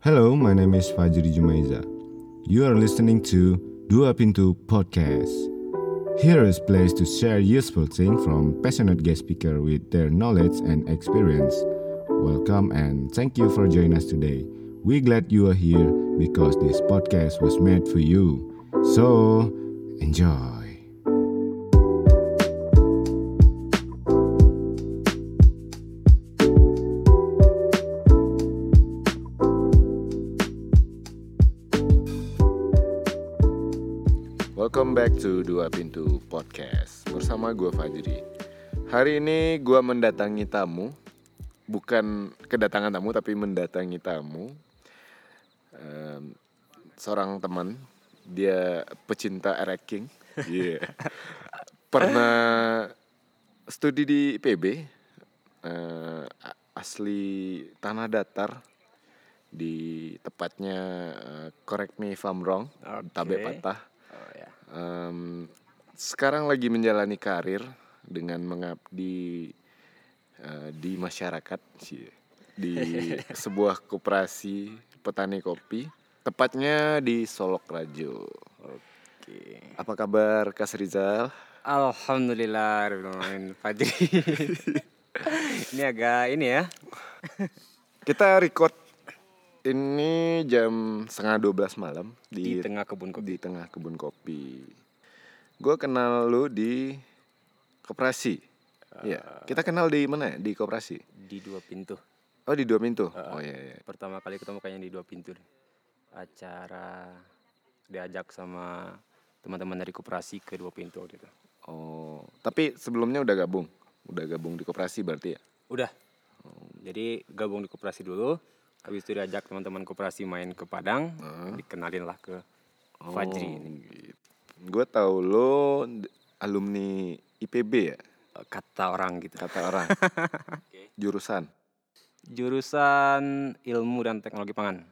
Hello, my name is Fajri Jumaiza. You are listening to Dua Pintu Podcast. Here is place to share useful things from passionate guest speaker with their knowledge and experience. Welcome and thank you for joining us today. We glad you are here because this podcast was made for you. So, enjoy. Welcome back to Dua Pintu Podcast bersama gue Fajri. Hari ini gue mendatangi tamu, bukan kedatangan tamu tapi mendatangi tamu. Em, seorang teman, dia pecinta Eric King. Iya. Pernah studi di IPB, eh, a- asli tanah datar di tepatnya eh, correct me if I'm wrong, Tabe Oke. Patah. Oh ya. Em, sekarang lagi menjalani karir dengan mengabdi eh, di masyarakat sih di sebuah koperasi petani kopi tepatnya di Solok Rajo. Oke. Apa kabar Kas Rizal? Alhamdulillah Rabbil Alamin Fajri. ini agak ini ya. Kita record ini jam setengah 12 malam Di di tengah kebun kopi. di tengah kebun kopi. Gue kenal lu di koperasi. Iya, kita kenal di mana? ya? Di koperasi. Di dua pintu. Oh di dua pintu. oh iya iya. Pertama kali ketemu kayaknya di dua pintu. deh. Acara diajak sama teman-teman dari koperasi ke dua pintu waktu itu. Oh tapi sebelumnya udah gabung, udah gabung di koperasi berarti ya. Udah. Jadi gabung di koperasi dulu. Habis itu diajak teman-teman koperasi main ke Padang. Dikenalinlah Dikenalin lah ke Oh. Oh, Fajri. ini. Gue Gitu. tau lo d- alumni IPB ya Kata orang gitu. kata orang. Jurusan. Jurusan Ilmu dan Teknologi Pangan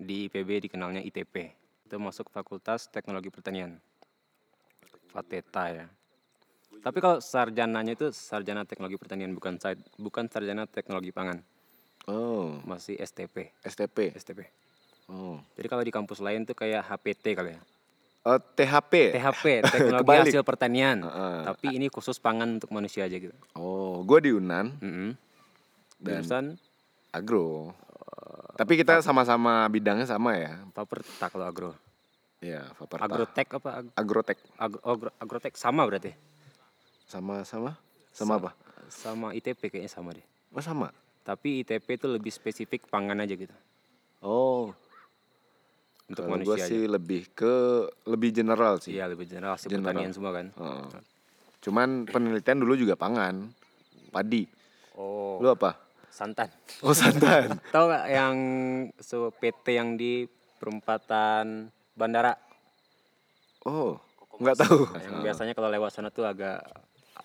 di IPB dikenalnya ITP. Itu masuk Fakultas Teknologi Pertanian. Fateta ya. Tapi kalau sarjananya itu sarjana teknologi pertanian bukan sa- bukan sarjana teknologi pangan, Oh masih STP, STP. STP. Oh, Jadi kalau di kampus lain tuh kayak HPT kali ya. Oh, THP. THP, Teknologi Kebalik. Hasil Pertanian. Heeh. Tapi ini khusus pangan untuk manusia aja gitu. Oh gue di Unan Mm-mm. Dan- Jurusan agro. Oh, Tapi kita sama-sama bidangnya sama ya. Paperta kalau agro. Ya Faperta. Agrotek apa? Ag- Agrotek agro, agro- agrotek sama berarti? sama-sama sama apa? sama ITP kayaknya sama deh. Oh sama. Tapi ITP itu lebih spesifik pangan aja gitu. Oh Untuk Kalau gue manusia aja. sih lebih ke lebih general sih. Iya lebih general sih General. pertanian semua kan. Heeh. Cuman penelitian dulu juga pangan, padi. Oh, Lu apa? santan. Oh santan. Tahu nggak yang so, PT yang di perempatan bandara Oh nggak tahu. yang biasanya kalau lewat sana tuh agak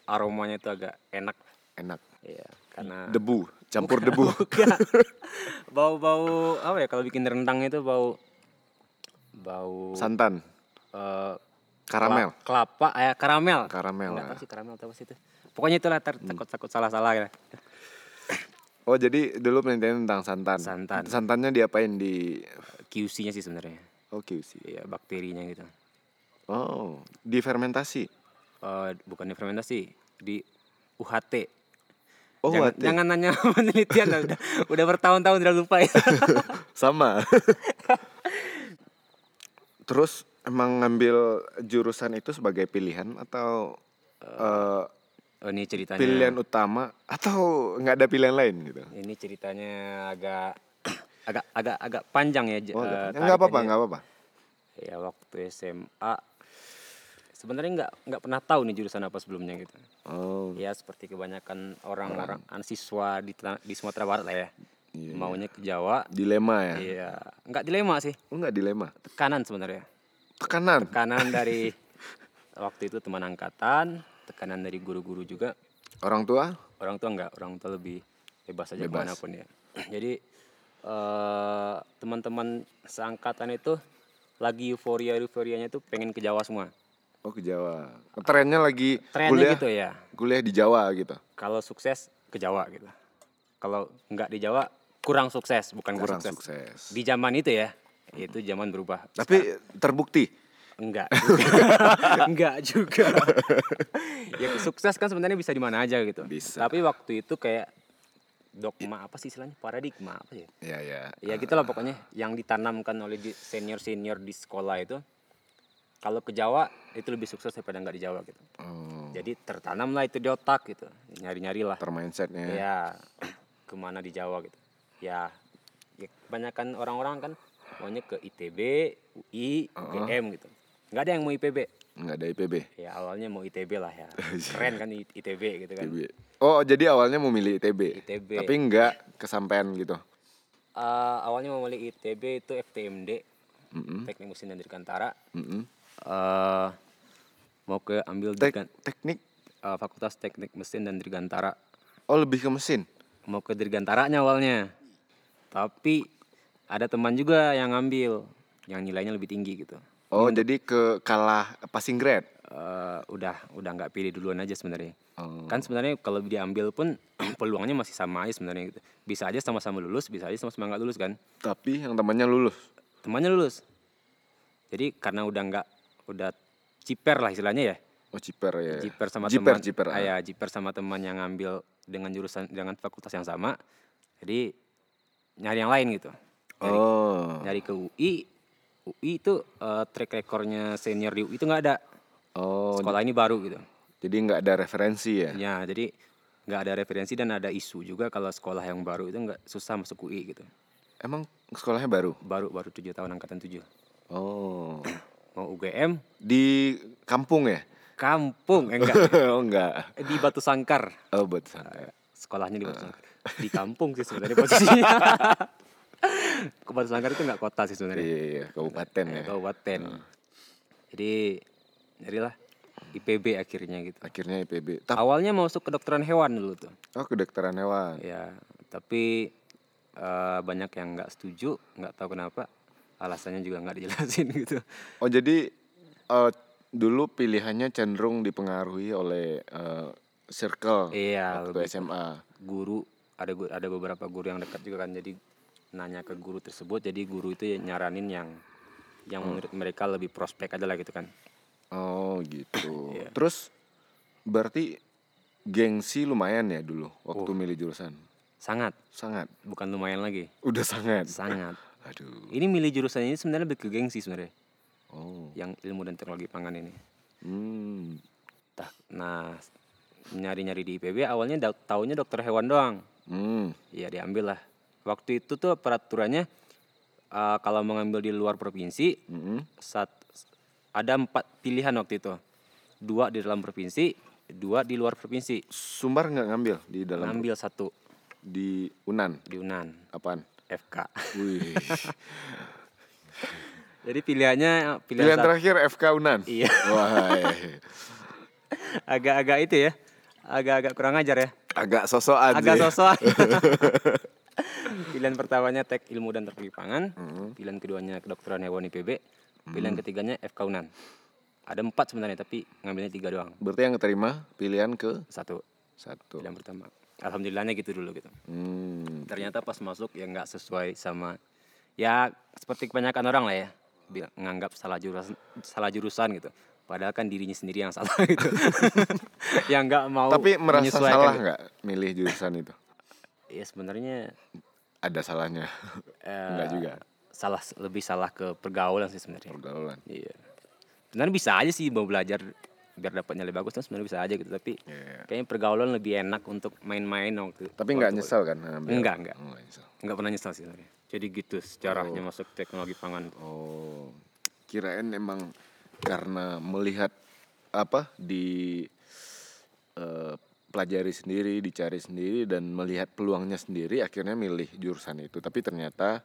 aromanya tuh agak enak. Enak. Iya, karena Debu, campur debu. Bukan. bau-bau apa ya kalau bikin rendang itu bau bau Santan, eh, karamel. Kela- kelapa eh karamel Karamel, Nggak tahu ya. sih karamel atau apa sih itu pokoknya itulah tar- Hmm. takut takut salah salah ya Oh jadi dulu penelitian tentang santan. Santan. Santannya diapain di QC nya sih sebenarnya Oke sih. ya bakterinya gitu Oh, difermentasi. Eh bukan di fermentasi di UHT Oh, jangan, UHT. jangan nanya penelitian lah, udah, udah bertahun-tahun udah lupa ya Sama. Terus emang ngambil jurusan itu sebagai pilihan atau eh, oh, ini ceritanya pilihan utama atau nggak ada pilihan lain gitu? ini ceritanya agak agak agak agak panjang ya j- Oh, eh, nggak tariknya nggak apa-apa, dia. nggak apa-apa. ya waktu SMA sebenarnya nggak nggak pernah tahu nih jurusan apa sebelumnya gitu Oh, ya seperti kebanyakan orang-orang an- siswa di, tela- di Sumatera Barat lah ya Iya, maunya ke Jawa dilema ya? iya nggak dilema sih Oh, nggak dilema. tekanan sebenarnya Tekanan. tekanan dari waktu itu teman angkatan tekanan dari guru-guru juga Orang tua? orang tua nggak orang tua lebih bebas aja Bebas. kemanapun ya jadi eh, teman-teman seangkatan itu lagi euforia euforianya tuh pengen ke Jawa semua Oh, ke Jawa. Trennya lagi trennya kuliah, gitu ya kuliah di Jawa gitu. kalau sukses ke Jawa gitu kalau nggak di Jawa kurang sukses bukan kurang, kurang sukses. sukses. di zaman itu ya itu zaman berubah Tapi terbukti. enggak juga. enggak juga ya sukses kan sebenarnya bisa di mana aja gitu Bisa. tapi waktu itu kayak dogma apa sih istilahnya paradigma apa ya Ya ya. ya gitu lah pokoknya yang ditanamkan oleh senior senior di sekolah itu kalau ke Jawa itu lebih sukses daripada nggak di Jawa gitu Oh, jadi tertanamlah itu di otak gitu nyari nyarilah termindsetnya. ya kemana di Jawa gitu ya, ya kebanyakan orang-orang kan maunya ke ITB UI UGM gitu nggak ada yang mau IPB Enggak ada IPB. ya awalnya mau ITB lah ya Iya. keren kan I- ITB gitu kan IPB. Oh, jadi awalnya memilih ITB. ITB. Tapi enggak kesampaian gitu. Eh, awalnya mau milih ITB itu FTMD Mm-mm. teknik mesin dan dirgantara Mm-mm. eh mau ke ambil Tek- dirgan- teknik eh, fakultas teknik mesin dan dirgantara oh lebih ke mesin. mau ke dirgantaranya awalnya tapi ada teman juga yang ngambil yang nilainya lebih tinggi gitu Oh, jadi ke kalah passing grade. Eh, udah udah nggak pilih duluan aja sebenarnya Oh. kan sebenarnya kalau diambil pun peluangnya masih sama aja sebenarnya gitu bisa aja sama-sama lulus bisa aja sama-sama nggak lulus kan Tapi yang temannya lulus. temannya lulus jadi karena udah nggak udah ciper lah istilahnya ya Oh, ciper ya. jiper sama jiper, teman Jiper, ah, ya, jiper sama teman yang ngambil dengan jurusan dengan fakultas yang sama jadi nyari yang lain gitu nyari, Oh. nyari ke UI UI itu eh, track recordnya senior di UI itu nggak ada Oh, sekolah ini baru gitu jadi nggak ada referensi ya? ya jadi nggak ada referensi dan ada isu juga kalau sekolah yang baru itu nggak susah masuk UI gitu Emang sekolahnya baru? baru baru tujuh tahun angkatan tujuh Oh. mau UGM Di kampung ya? kampung eh, enggak oh enggak. di Batu Sangkar Oh, buat santai. sekolahnya di Batu Sangkar. Di kampung sih sebenarnya posisinya. Ke Batu Sangkar itu nggak kota Iya, sih sebenarnya. iya, iya, kabupaten ya. Eh, Kabupaten. Jadi nyarilah IPB akhirnya gitu. Akhirnya IPB. Tapi Awalnya mau masuk kedokteran hewan dulu tuh. oh kedokteran hewan. Ya, tapi eh, banyak yang nggak setuju, nggak tahu kenapa. Alasannya juga nggak dijelasin gitu. Oh, jadi eh, dulu pilihannya cenderung dipengaruhi oleh eh, circle Iya, waktu lebih- SMA. guru ada gu- ada beberapa guru yang dekat juga kan jadi nanya ke guru tersebut jadi guru itu ya nyaranin yang yang menurut mereka lebih prospek aja lah gitu kan Oh, gitu. Terus berarti gengsi lumayan ya dulu waktu milih jurusan. sangat Sangat. bukan lumayan lagi Udah sangat. sangat Aduh. ini milih jurusan ini sebenarnya lebih ke gengsi sebenarnya Oh. yang ilmu dan teknologi pangan ini Hmm. Tah, nah nyari-nyari di IPB awalnya da- taunya dokter hewan doang Hmm. ya diambil lah waktu itu tuh peraturannya eh, kalau mengambil di luar provinsi Mm-mm. saat ada empat pilihan waktu itu dua di dalam provinsi dua di luar provinsi Sumbar nggak ngambil di dalam ambil satu di Unan di Unan apaan? FK Wih. jadi pilihannya pilihan, Pilihan satu- terakhir FK Unan. Iya. Wah, eh. agak-agak itu ya agak-agak kurang ajar ya agak sosokan agak sih. sosok pilihan pertamanya tek ilmu dan teknologi pangan pilihan keduanya kedokteran hewan IPB pilihan ketiganya FK Unan ada empat sebenarnya tapi ngambilnya tiga doang Berarti yang keterima pilihan ke satu satu. pilihan pertama alhamdulillahnya gitu dulu gitu Hmm. ternyata pas masuk ya nggak sesuai sama ya seperti kebanyakan orang lah ya bilang nganggap salah jurusan salah jurusan gitu padahal kan dirinya sendiri yang salah gitu yang nggak mau Tapi merasa menyesuaikan salah gitu. nggak milih jurusan itu? ya sebenarnya Ada salahnya. eh, Enggak juga. salah lebih salah ke pergaulan sih sebenarnya Pergaulan. iya sebenarnya bisa aja sih mau belajar biar dapat nilai bagus kan sebenarnya bisa aja gitu tapi Iya. kayaknya pergaulan lebih enak untuk main-main waktu Tapi nggak waktu- nyesal kan? ngambil? Enggak, enggak. Oh, nggak nyesal. nggak pernah nyesal sih sebenarnya jadi gitu sejarahnya masuk teknologi pangan Oh, kirain emang karena melihat apa di eh, pelajari sendiri, dicari sendiri dan melihat peluangnya sendiri, akhirnya milih jurusan itu. Tapi ternyata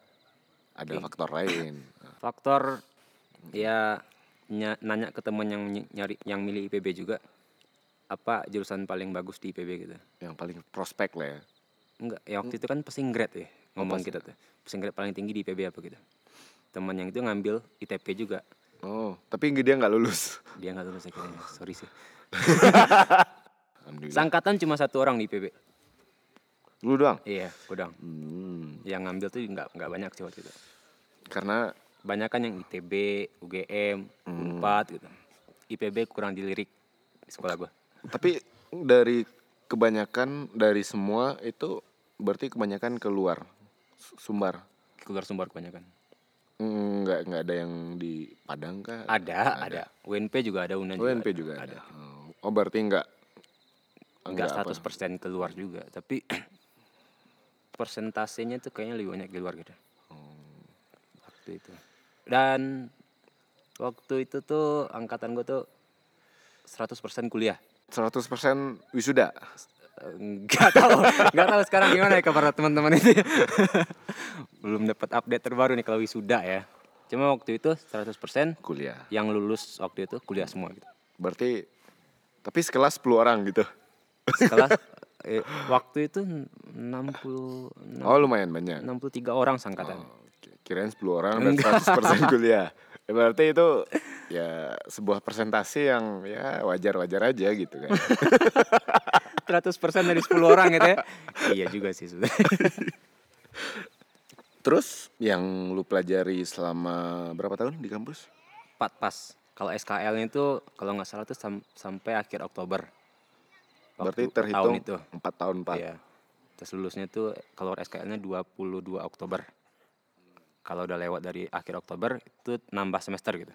ada faktor lain. faktor ya nya- nanya ke teman yang ny- nyari yang milih IPB juga apa jurusan paling bagus di IPB gitu Yang paling prospek lah ya. enggak ya waktu itu kan passing grade ya ngomong kita tuh passing grade paling tinggi di IPB apa gitu teman yang itu ngambil ITP juga Oh, tapi dia nggak lulus. dia nggak lulus akhirnya sorry sih Alhamdulillah. Iya. sangkatan cuma satu orang di IPB Lu doang. iya kudang Hmm. yang ngambil tuh nggak nggak banyak sih waktu itu. Karena Banyak kan yang ITB, UGM, Unpad gitu. IPB kurang dilirik di sekolah gua. tapi dari kebanyakan dari semua itu berarti kebanyakan keluar Su- Sumbar. Keluar sumber kebanyakan. Mm, Nggak nggak ada yang di Padang kah? Ada, ada. UNP juga ada, UNA juga. UNP juga ada. Oh berarti nggak Enggak apa? 100% keluar juga, tapi persentasenya tuh kayaknya lebih banyak di luar gitu. Waktu itu. Dan waktu itu tuh angkatan gua tuh 100% kuliah. 100% wisuda. Enggak tahu, enggak tahu sekarang gimana ya kabar teman-teman itu. Belum dapat update terbaru nih kalau wisuda ya. Cuma waktu itu 100% kuliah. yang lulus waktu itu kuliah semua gitu. Berarti tapi sekelas 10 orang gitu. Setelah eh, waktu itu 60 Oh lumayan banyak. 63 orang sangkatan. Oke, Kirain 10 orang dan 100% kuliah. Ya, berarti itu ya sebuah presentasi yang ya wajar-wajar aja gitu kan. 100% dari 10 orang gitu ya. iya juga sih sebenarnya. Terus yang lu pelajari selama berapa tahun di kampus? Pat pas. Kalau SKL-nya itu kalau nggak salah tuh sam- sampai akhir Oktober. Berarti Waktu terhitung tahun itu. 4 tahun Pak. Iya. Terus lulusnya tuh kalau SKL-nya 22 Oktober. Kalau udah lewat dari akhir Oktober itu nambah semester gitu.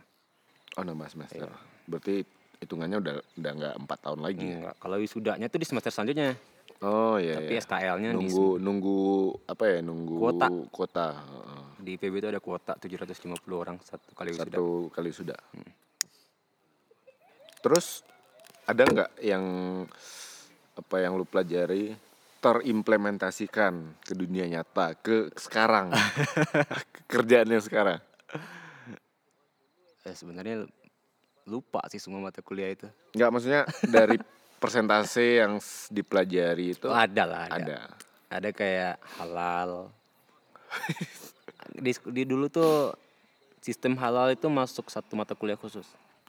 Oh, nambah semester. Iya. Berarti hitungannya udah udah nggak 4 tahun lagi. ya? Enggak, kalau wisudanya tuh di semester selanjutnya. Oh iya Tapi iya. SKL-nya di Nunggu nunggu apa ya? Nunggu Kuota. kuota, heeh. di IPB itu ada kuota 750 orang satu kali Hmm. wisuda. satu kali sudah. Terus ada nggak yang apa yang lu pelajari terimplementasikan ke dunia nyata ke sekarang kerjaannya sekarang Eh, sebenarnya lupa sih semua mata kuliah itu. nggak maksudnya dari persentase yang s- dipelajari itu Oh, ada lah, ada. ada ada kayak halal di, di dulu tuh sistem halal itu masuk satu mata kuliah khusus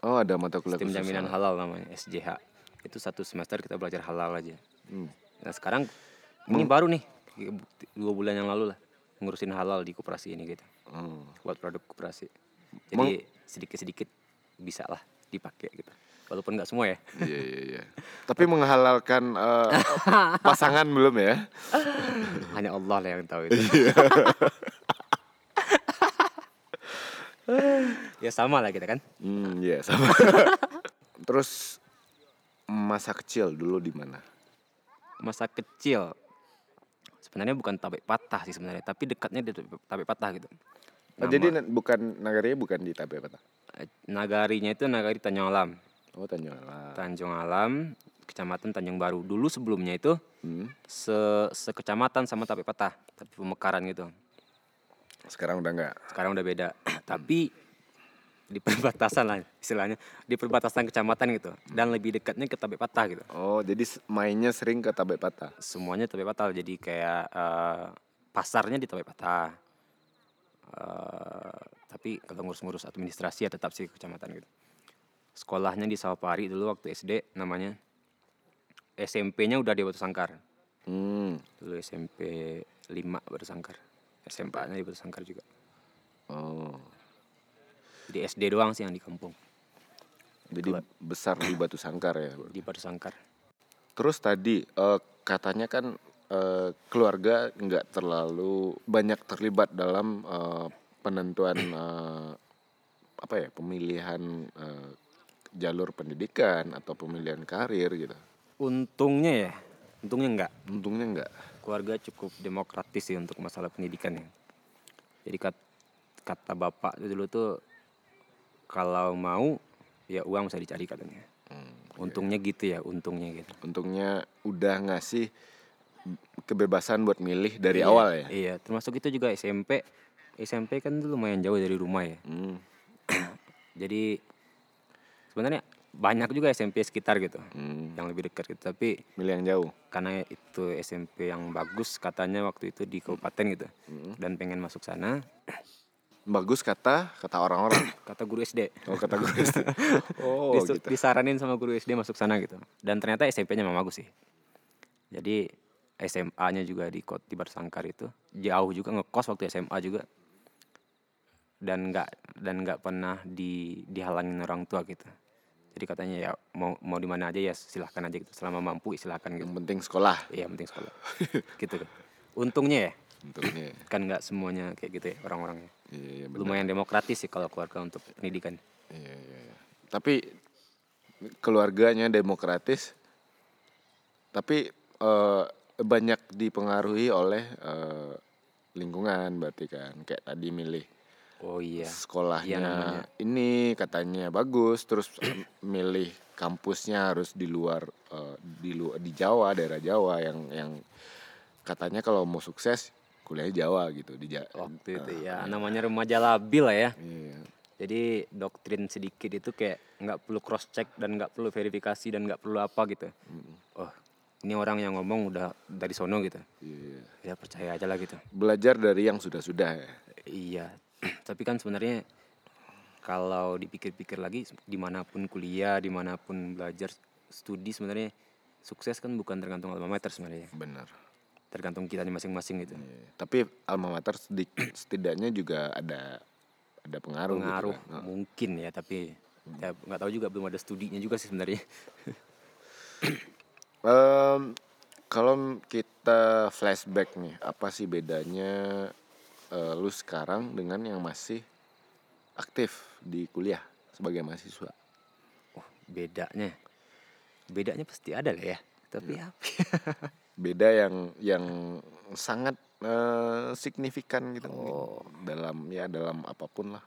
oh ada mata kuliah sistem khusus jaminan halal namanya SJH itu satu semester kita belajar halal aja Hmm. nah sekarang ini baru nih dua bulan yang lalu lah ngurusin halal di koperasi ini gitu Hmm. buat produk koperasi jadi sedikit sedikit bisa lah dipakai gitu walaupun nggak semua ya iya iya iya tapi menghalalkan eh, pasangan belum ya hanya Allah lah yang tahu itu Iya. ya sama lah kita kan hmm iya sama terus masa kecil dulu di mana masa kecil sebenarnya bukan tabek patah sih sebenarnya tapi dekatnya di tabek tabek patah gitu Oh, jadi na- bukan nagarinya bukan di Tabe Kota. Eh, nagarinya itu nagari Tanjung Alam Oh Tanjala. Tanjung Alam kecamatan Tanjung Baru dulu sebelumnya itu Hmm. se sekecamatan sama tabek patah tapi pemekaran gitu Sekarang udah nggak. sekarang udah beda tapi di perbatasan lah istilahnya di perbatasan kecamatan gitu dan lebih dekatnya ke tabek patah gitu Oh jadi s- mainnya sering ke Tabe Kota. semuanya tape patah jadi kayak eh, pasarnya di tape patah Eh, tapi kalau ngurus-ngurus administrasi ya tetap sih ke kecamatan gitu sekolahnya di Sawapari dulu waktu SD namanya SMP-nya udah di Batu Sangkar Hmm. dulu SMP 5 Batu Sangkar SMA-nya di Batu Sangkar juga Oh. jadi SD doang sih yang di kampung Jadi besar di Batu Sangkar ya. di Batu Sangkar Terus tadi eh, katanya kan eh, keluarga nggak terlalu banyak terlibat dalam eh, penentuan eh, apa ya pemilihan eh, jalur pendidikan atau pemilihan karir gitu. untungnya ya untungnya enggak Untungnya nggak. keluarga cukup demokratis sih untuk masalah pendidikan ya. Jadi kat- kata bapak tuh dulu tuh kalau mau ya uang bisa dicari katanya. Hmm, Untungnya iya. gitu ya, untungnya gitu. untungnya udah ngasih kebebasan buat milih dari awal ya. Iya, termasuk itu juga SMP. SMP kan tuh lumayan jauh dari rumah ya. Hmm, Jadi sebenarnya banyak juga SMP sekitar gitu hmm. yang lebih dekat gitu. Tapi Milih yang jauh. karena itu SMP yang bagus katanya waktu itu di kabupaten gitu. Hmm. Dan pengen masuk sana Bagus kata kata orang-orang. kata guru SD. Oh kata gue. oh Disu- gitu. disaranin sama guru SD masuk sana gitu dan ternyata SMP-nya memang bagus sih jadi SMA-nya juga di kot di Barsangkar itu jauh juga ngekos waktu SMA juga dan nggak dan nggak pernah di dihalangin orang tua gitu jadi katanya ya mau mau di mana aja ya silahkan aja gitu selama mampu silahkan gitu Yang penting sekolah ya penting sekolah gitu kan untungnya ya untungnya. kan nggak semuanya kayak gitu ya orang-orangnya Iya, iya, bener. lumayan demokratis sih kalau keluarga untuk pendidikan Iya, iya, iya. Tapi keluarganya demokratis, tapi eh, banyak dipengaruhi oleh eh, lingkungan berarti kan. Kayak tadi milih oh iya sekolahnya Iya, namanya. ini katanya bagus, terus eh, milih kampusnya harus di luar eh, di lu- di Jawa, daerah Jawa yang yang katanya kalau mau sukses kuliah Jawa gitu di Ja- waktu itu ya namanya remaja labil lah ya Iya. Jadi doktrin sedikit itu kayak nggak perlu cross check dan nggak perlu verifikasi dan nggak perlu apa gitu. Oh, ini orang yang ngomong udah dari sono gitu. Iya. Ya percaya aja lah gitu. Belajar dari yang sudah-sudah ya. Iya. Tapi kan sebenarnya kalau dipikir-pikir lagi dimanapun kuliah, dimanapun belajar studi sebenarnya sukses kan bukan tergantung alma mater sebenarnya. Benar. Tergantung kita masing-masing gitu. Tapi alma mater sedi- setidaknya juga ada ada pengaruh. gitu Pengaruh kan. mungkin ya tapi ya nggak tahu juga belum ada studinya juga sih sebenarnya. Em, kalau kita flashback nih, apa sih bedanya eh, lu sekarang dengan yang masih aktif di kuliah sebagai mahasiswa? Oh, bedanya. Bedanya pasti ada lah ya. Tapi apa? Beda yang yang sangat eh, signifikan gitu mungkin. dalam ya dalam apapun lah.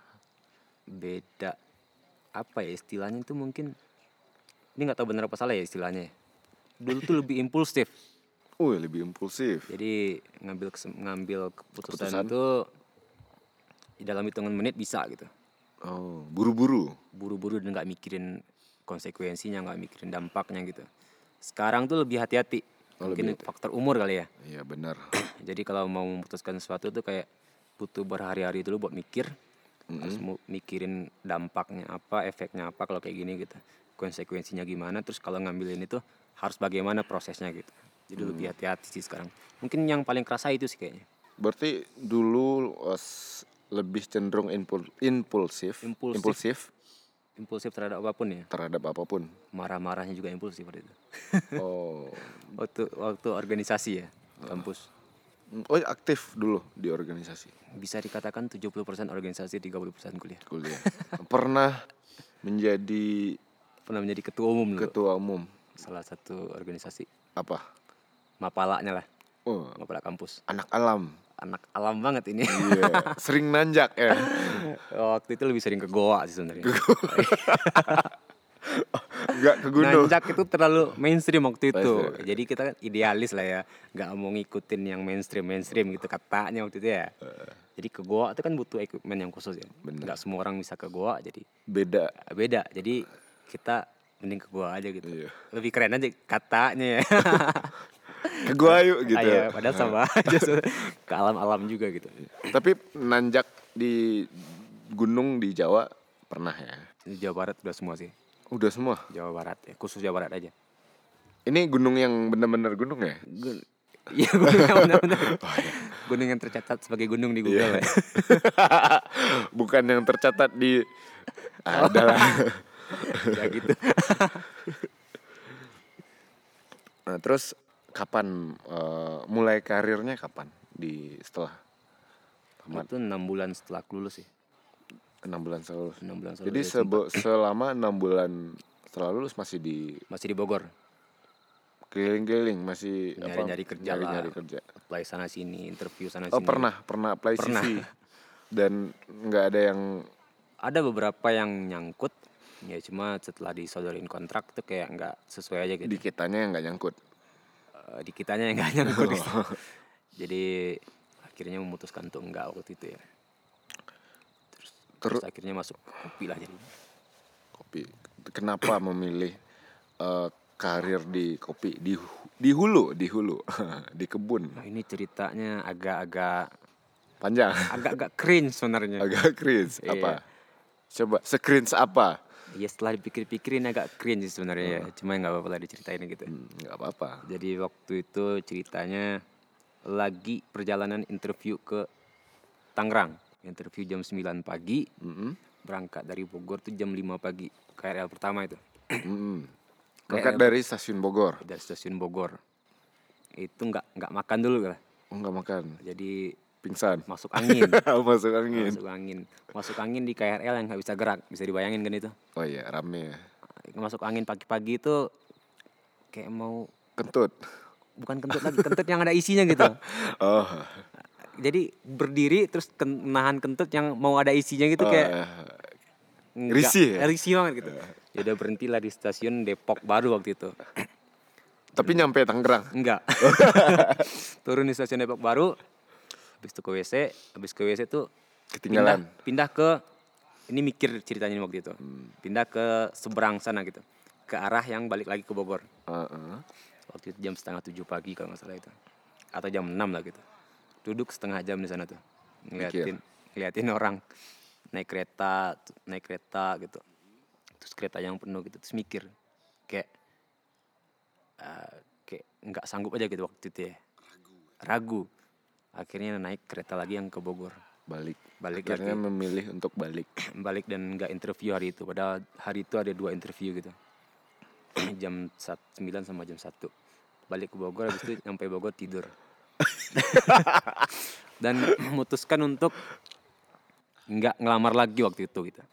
Beda apa ya istilahnya itu mungkin ini nggak tahu benar apa salah ya istilahnya. Dulu tuh lebih impulsif. Uh lebih impulsif. Jadi ngambil kesem- ngambil keputusan, Keputusan. itu di dalam hitungan menit bisa gitu. Oh buru-buru. Buru-buru dan nggak mikirin konsekuensinya, nggak mikirin dampaknya gitu. Sekarang tuh lebih hati-hati. Oh, mungkin faktor umur kali ya. Iya benar. Jadi kalau mau memutuskan sesuatu tuh kayak butuh berhari-hari dulu buat mikir, terus mu- mikirin dampaknya apa, efeknya apa kalau kayak gini gitu, konsekuensinya gimana, terus kalau ngambilin itu harus bagaimana prosesnya gitu. Jadi lebih hati-hati sih sekarang. Mungkin yang paling kerasa itu sih kayaknya. Berarti dulu eh, s- lebih cenderung impul- impulsif, Impulsif. Impulsif terhadap apapun ya, terhadap apapun. marah-marahnya juga impulsif pada itu. Oh, waktu waktu organisasi ya, kampus. oh aktif dulu di organisasi Bisa dikatakan 70% organisasi, 30% kuliah. kuliah. Pernah menjadi Pernah menjadi ketua umum dulu. ketua umum Salah satu organisasi apa? mapalanya lah. Oh, Mapala kampus. anak alam. anak alam banget ini. Oh, Iya, sering nanjak ya. Waktu itu lebih sering ke goa sih sebenarnya. Enggak ke gunung. Nanjak itu terlalu mainstream waktu itu. Mainstream. iya. Jadi kita kan idealis lah ya, nggak mau ngikutin yang mainstream mainstream gitu katanya waktu itu ya. Jadi ke goa itu kan butuh equipment yang khusus ya. Iya. Bener. Nggak semua orang bisa ke goa jadi Beda. beda. Jadi kita mending ke goa aja gitu. Iya. Lebih keren aja katanya ya. Ke gua yuk gitu. Ayo, padahal sama aja sebenarnya. ke alam-alam juga gitu. Tapi nanjak di gunung di Jawa pernah ya. Di Jawa Barat udah semua sih. Udah semua. Jawa Barat ya, khusus Jawa Barat aja. Ini gunung yang bener-bener gunung ya? Gun- Iya gunung yang benar-benar. Oh, iya. Gunung yang tercatat sebagai gunung di Google. ya. Bukan yang tercatat di ada lah. Ya gitu. Nah, terus kapan eh, mulai karirnya kapan di setelah Itu enam bulan setelah aku lulus sih. enam bulan selalu. Enam bulan setelah Jadi lulus. sebe- selama enam bulan setelah lulus masih di masih di Bogor. keliling-keliling masih apa, Nyari-nyari kerja lah. nyari-nyari kerja. Apply sana sini, interview sana Oh sini. pernah pernah apply Pernah. CV dan nggak ada yang Ada beberapa yang nyangkut. Ya cuma setelah disodorin kontrak tuh kayak nggak sesuai aja gitu. di kitanya yang nggak nyangkut. Eh, di kitanya yang nggak nyangkut gitu. Oh. Jadi akhirnya memutuskan untuk enggak waktu itu ya. Terus, terus akhirnya masuk kopi lah jadi. Kopi. Kenapa memilih eh, karir di kopi di hu- di hulu di hulu di kebun Nah, ini ceritanya agak-agak panjang agak-agak cringe sebenarnya. agak cringe Iya. apa coba screens apa Ya setelah dipikir-pikirin agak cringe sih sebenarnya ya. Cuma nggak apa-apa lah diceritain gitu. Hmm, nggak apa-apa Jadi waktu itu ceritanya lagi perjalanan interview ke Tangerang. Interview jam 9 pagi, Mm-mm. berangkat dari Bogor tuh jam 5 pagi. KRL pertama itu Mm-mm. Berangkat Hmm. dari stasiun Bogor dari stasiun Bogor. Itu nggak nggak makan dulu lah. oh, nggak makan Jadi pingsan masuk angin, masuk angin masuk angin, masuk angin di KRL yang nggak bisa gerak. Bisa dibayangin kan itu? oh iya rame ya Masuk angin pagi-pagi itu kayak mau kentut bukan kentut lagi, kentut yang ada isinya gitu. oh jadi berdiri terus ken- nahan kentut yang mau ada isinya gitu oh, kayak nggak- risih ya? risih banget gitu ya udah berhentilah di stasiun Depok baru waktu itu tapi nyampe Tangerang enggak turun di stasiun Depok baru habis itu ke WC habis ke WC tuh pindah, Ketinggalan. pindah ke ini mikir ceritanya waktu itu Hmm. pindah ke seberang sana gitu ke arah yang balik lagi ke Bogor Heeh. waktu itu jam setengah tujuh pagi kalau nggak salah itu atau jam enam lah gitu duduk setengah jam di sana tuh ngeliatin ngeliatin orang naik kereta tu- naik kereta gitu terus kereta yang penuh gitu terus mikir kayak eh, kayak nggak sanggup aja gitu waktu itu ya ragu akhirnya naik kereta lagi yang ke Bogor balik Balik akhirnya memilih untuk balik balik dan nggak interview hari itu padahal hari itu ada dua interview gitu jam sat- 9 sama jam 1 balik ke Bogor habis itu sampai Bogor tidur dan memutuskan untuk nggak ngelamar lagi waktu itu gitu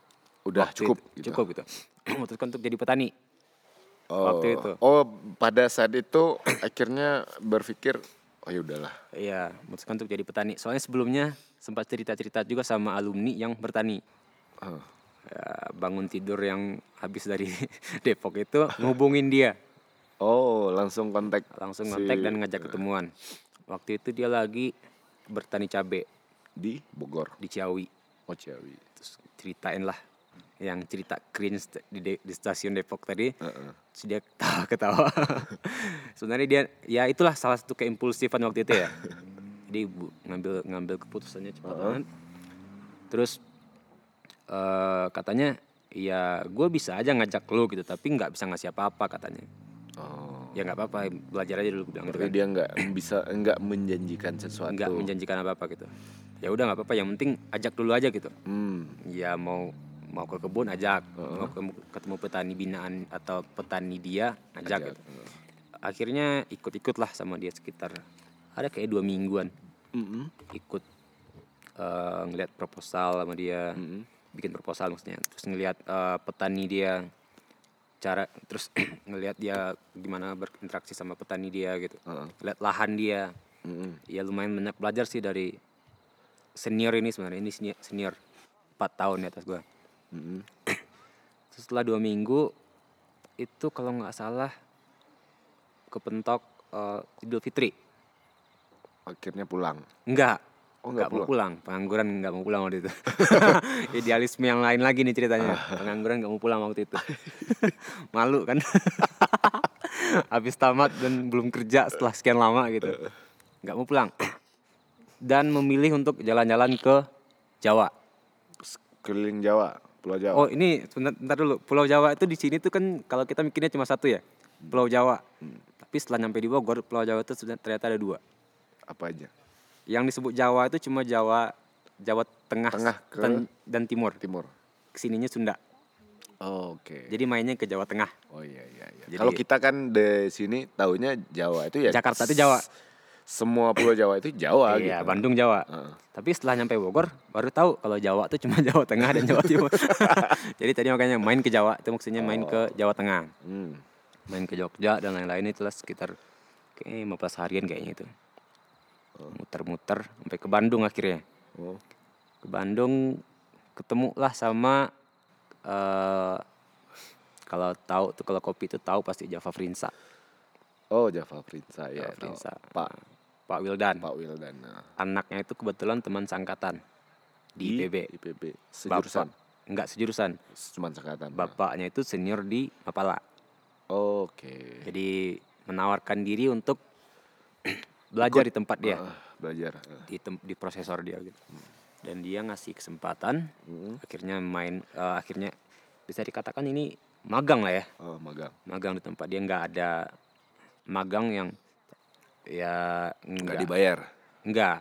udah Waktu cukup itu- gitu. cukup gitu memutuskan untuk jadi petani oh. waktu itu. oh pada saat itu akhirnya berpikir oh ya udahlah Iya, memutuskan untuk jadi petani. Soalnya sebelumnya sempat cerita-cerita juga sama alumni yang bertani. Ah. Ya, bangun tidur yang habis dari Depok itu ngubungin dia. oh langsung kontak langsung si- ngontek dan ngajak ketemuan. Waktu itu dia lagi bertani cabe di Bogor di Ciawi. oh Ciawi Terus ceritain lah yang cerita cringe t- di, de- di stasiun Depok tadi. Terus dia ketawa-ketawa. Sebenarnya dia ya itulah salah satu keimpulsifan waktu itu ya. Jadi bu- ngambil ngambil keputusannya cepat banget. Terus eh, katanya ya gue bisa aja ngajak lo gitu tapi nggak bisa ngasih apa-apa katanya oh ya nggak apa-apa belajar aja dulu gua bilang gitu berarti dia nggak bisa nggak menjanjikan sesuatu nggak menjanjikan apa apa gitu ya udah nggak apa-apa yang penting ajak dulu aja gitu Hmm, ya mau mau ke kebun ajak mau ke- ketemu petani binaan atau petani dia ajak, gitu akhirnya ikut-ikut lah sama dia sekitar ada kayak dua mingguan Mm-mm. ikut eh, ngeliat proposal sama dia bikin proposal maksudnya terus ngeliat eh, petani dia cara terus ngelihat dia gimana berinteraksi sama petani dia gitu lihat lahan dia Mm-mm. ya lumayan banyak belajar sih dari senior ini sebenarnya ini senior, senior 4 tahun di atas gua. Mm-mm. Terus setelah dua minggu itu kalau nggak salah kepentok eh, Idul Fitri. akhirnya pulang Enggak. Oh, nggak nggak mau pulang. Pengangguran nggak mau pulang waktu itu. Idealisme yang lain lagi nih ceritanya. Pengangguran nggak mau pulang waktu itu. Malu kan. Habis tamat dan belum kerja setelah sekian lama gitu. Nggak mau pulang. Dan memilih untuk jalan-jalan ke Jawa. keliling Jawa Pulau Jawa Oh ini sebentar bentar dulu. Pulau Jawa itu di sini tuh kan kalau kita mikirnya cuma satu ya. Pulau Jawa. Tapi setelah nyampe di Bogor, Pulau Jawa itu sebenarnya ternyata ada dua. apa aja Yang disebut Jawa itu cuma Jawa Jawa Tengah, Tengah ke- ten- dan Timur. Timur Kesininya Sunda. oh, oke Jadi mainnya ke Jawa Tengah. Oh iya iya iya. Jadi- Kalau kita kan di sini taunya Jawa itu ya Jakarta itu Jawa. s- Semua pulau Jawa itu Jawa iya, gitu. Bandung Jawa. Tapi setelah nyampe Bogor baru tahu kalau Jawa itu cuma Jawa Tengah dan Jawa Timur. Jadi tadi makanya main ke Jawa itu maksudnya main Oh. ke Jawa Tengah. Hmm. Main ke Jogja dan lain-lain itu lah sekitar kayaknya 15 harian kayaknya itu. Muter-muter sampai ke Bandung akhirnya. Oh. ke Bandung ketemulah sama eh kalau tahu tuh kalau kopi itu tahu pasti Java Frinsa Oh Java Prinsa ya. Java Prinsa. tahu. Pak Pak Wildan Pak Wildan. nah. anaknya itu kebetulan teman sangkatan di IPB IPB. Sejurusan. Iya. Bapak- enggak sejurusan Cuman sekatan. nah. bapaknya itu senior di Mapala Iya. Oke. jadi menawarkan diri untuk belajar di tempat dia Ah, belajar. Ah. di, tem- di Hmm. prosesor dia gitu dan dia ngasih kesempatan akhirnya main eh, akhirnya bisa dikatakan ini magang lah ya Oh, magang. magang di tempat dia nggak ada magang yang ya Nggak nggak dibayar. nggak